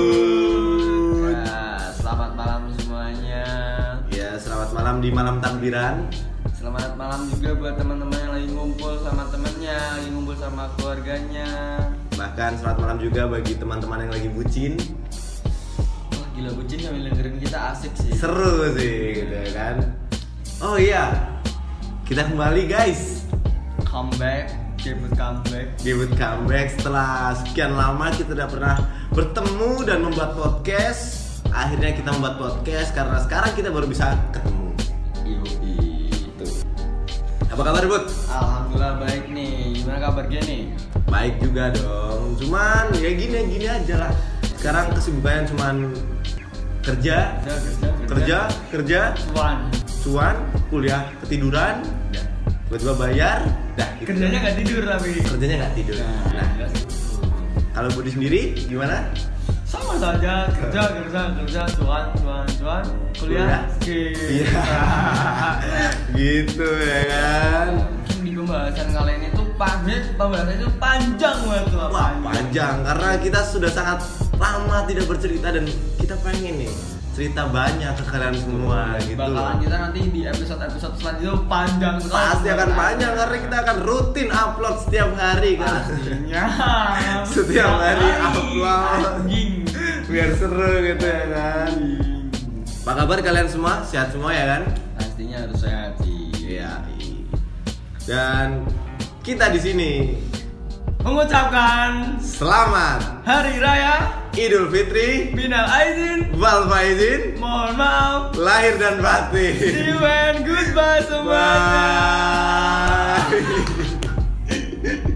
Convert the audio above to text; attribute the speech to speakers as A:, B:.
A: Yebut.
B: Ya, selamat malam semuanya.
A: Ya, selamat malam di malam takbiran.
B: Selamat malam juga buat teman-teman yang lagi ngumpul sama temennya, lagi ngumpul sama keluarganya.
A: Bahkan selamat malam juga bagi teman-teman yang lagi bucin.
B: Wah, gila bucin sambil dengerin kita asik sih.
A: Seru sih gitu ya kan. Oh iya. Kita kembali guys.
B: Comeback, Jebut comeback.
A: Debut comeback setelah sekian lama kita tidak pernah bertemu dan membuat podcast. Akhirnya kita membuat podcast karena sekarang kita baru bisa ketemu.
B: Iyo, itu.
A: Apa kabar, Bud?
B: Alhamdulillah baik nih. Gimana kabar gini?
A: Baik juga dong. Cuman ya gini gini aja lah. Sekarang kesibukannya cuman kerja,
B: Kerja, kerja,
A: kerja, kerja,
B: Cuan.
A: cuan, kuliah, ketiduran, dah. Tiba-tiba bayar, dah. gitu.
B: Kerjanya nggak tidur tapi.
A: kerjanya nggak tidur. Nah,
B: nggak sih.
A: kalau Budi sendiri gimana?
B: sama saja kerja kerja kerja cuan cuan cuan kuliah skip
A: Iya. gitu ya kan.
B: mungkin di pembahasan kali ini tuh pamit pembahasan itu panjang banget tuh
A: Wah panjang karena kita sudah sangat lama tidak bercerita dan kita pengen nih cerita banyak ke kalian semua gitu.
B: bakalan kita nanti di episode episode selanjutnya panjang sekali
A: pasti akan panjang karena kita akan rutin upload setiap hari kan
B: pastinya
A: Setiap hari upload.
B: anjing
A: biar seru gitu ya kan apa kabar kalian semua sehat semua ya kan
B: pastinya harus sehat sih
A: iya dan kita di sini
B: mengucapkan
A: selamat
B: hari raya
A: Idul Fitri
B: minal aidin
A: wal faizin
B: mohon maaf
A: lahir dan
B: See
A: batin
B: you and goodbye semuanya.
A: bye